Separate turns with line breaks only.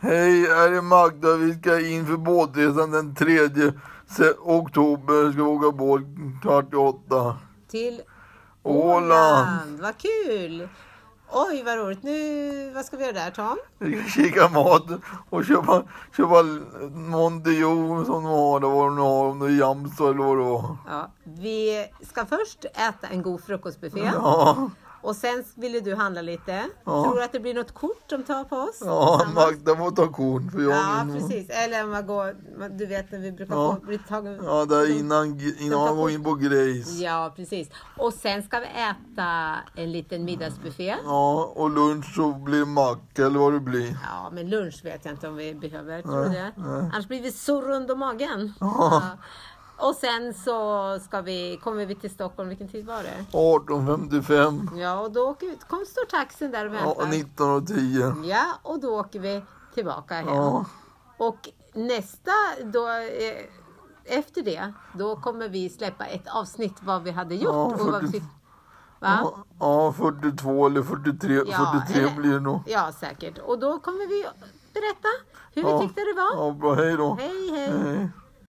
Hej, här är Magda. Vi ska in för båtresan den 3 se- oktober. Ska vi åka båt kvart i åtta.
Till
Åland.
Vad kul! Oj, vad roligt. Nu, vad ska vi göra där, Tom?
Vi ska kika mat och köpa, köpa Montejo som de har, eller vad de nu har, om det är Jamsa eller vad det var.
Ja, vi ska först äta en god frukostbuffé.
Ja,
Och sen ville du handla lite.
Ja.
Tror du att det blir något kort de tar på oss?
ja
Samma-
Magda får ta korn för jag
Ja, precis. Eller om man går, man- du vet när vi brukar
Ja.
få bli tagen.
Ja, där innan, innan man går in på Grace.
Ja, precis. Och sen ska vi äta en liten middagsbuffé.
Ja, och lunch så blir det macka eller vad det blir.
Ja, men lunch vet jag inte om vi behöver. Tror du det? Annars blir vi så rund om magen. Ja. Och sen så ska vi, kommer vi till Stockholm, vilken tid var det?
18.55
Ja, och då åker vi, kom står taxin där och
ja, och
väntar.
19.10.
Ja, och då åker vi tillbaka hem.
Ja.
Och nästa då, eh, efter det, då kommer vi släppa ett avsnitt vad vi hade gjort.
Ja,
och vad vi
40
fick, va?
Ja, 42 eller 43, 43
eller-
blir det nog.
Ja, säkert. Och då kommer vi berätta hur vi tyckte det var.
Ja, bra. Hej då.
Hej, hej.
hej.